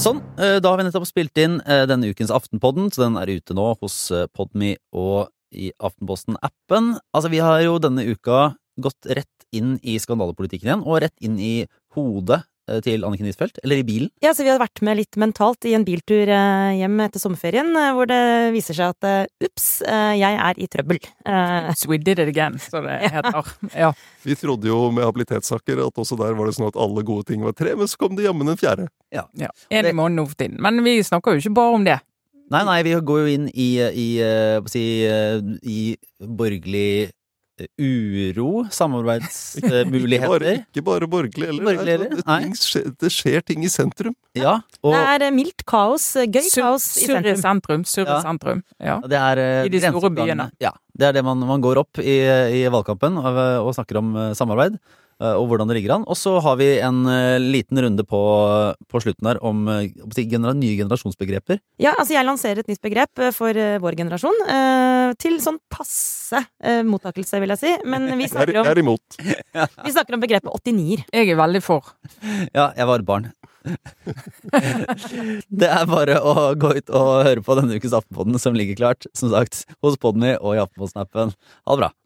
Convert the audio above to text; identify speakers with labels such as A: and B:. A: Sånn, eh, da har vi nettopp spilt inn eh, denne ukens Aftenpodden, så den er ute nå hos eh, Podme og i Aftenposten-appen. Altså, vi har jo denne uka gått rett inn i skandalepolitikken igjen, og rett inn i hodet eh, til Anniken Huitfeldt, eller i bilen.
B: Ja, så vi hadde vært med litt mentalt i en biltur eh, hjem etter sommerferien, eh, hvor det viser seg at eh, ups, eh, jeg er i trøbbel. Eh,
C: So we did it again, så det heter. Ja.
D: Vi trodde jo med habilitetssaker at også der var det sånn at alle gode ting var tre, men så kom det jammen en fjerde.
C: ja. En i måneden nå for tiden. Men vi snakker jo ikke bare om det.
A: Nei, nei, vi går jo inn i, i, eh, hva skal jeg si, eh, i borgerlig eh, uro,
D: Ikke bare,
A: samarbeidsmuligheter.
D: ikke bare borgerlig heller.
A: Borgerlig
D: Det er
A: heller,
D: sånn at
A: nei.
D: ting skjer, det skjer ting i sentrum.
A: Ja, og
B: det er eh, mildt kaos, eh, gøy
C: Sur-
B: kaos i
C: Surre
B: sentrum.
C: sentrum. Surre
A: Ja.
C: sentrum. Ja.
A: Det er eh,
C: I de store
A: grenseoppgangene.
C: byene.
A: Ja, det er det man, man går opp i, i valgkampen og, og snakker om eh, samarbeid eh, og hvordan det ligger an. Og så har vi en eh, liten runde på, på slutten der om eh, hva skal jeg si, genera nye generasjonsbegreper.
B: Ja, altså jeg lanserer et nytt begrep eh, for eh, vår generasjon, eh, til sånn passe eh, mottakelse, vil jeg si. Men vi
D: Jeg er,
B: snakker
D: jeg
B: om,
D: er imot.
B: vi snakker om begrepet 89-er.
C: Jeg er veldig for.
A: Ja, jeg var et barn. det er bare å gå ut og høre på denne ukes Aftenpodden som ligger klart, som sagt, hos Podmy og i Aftenposten-appen. Ha det bra.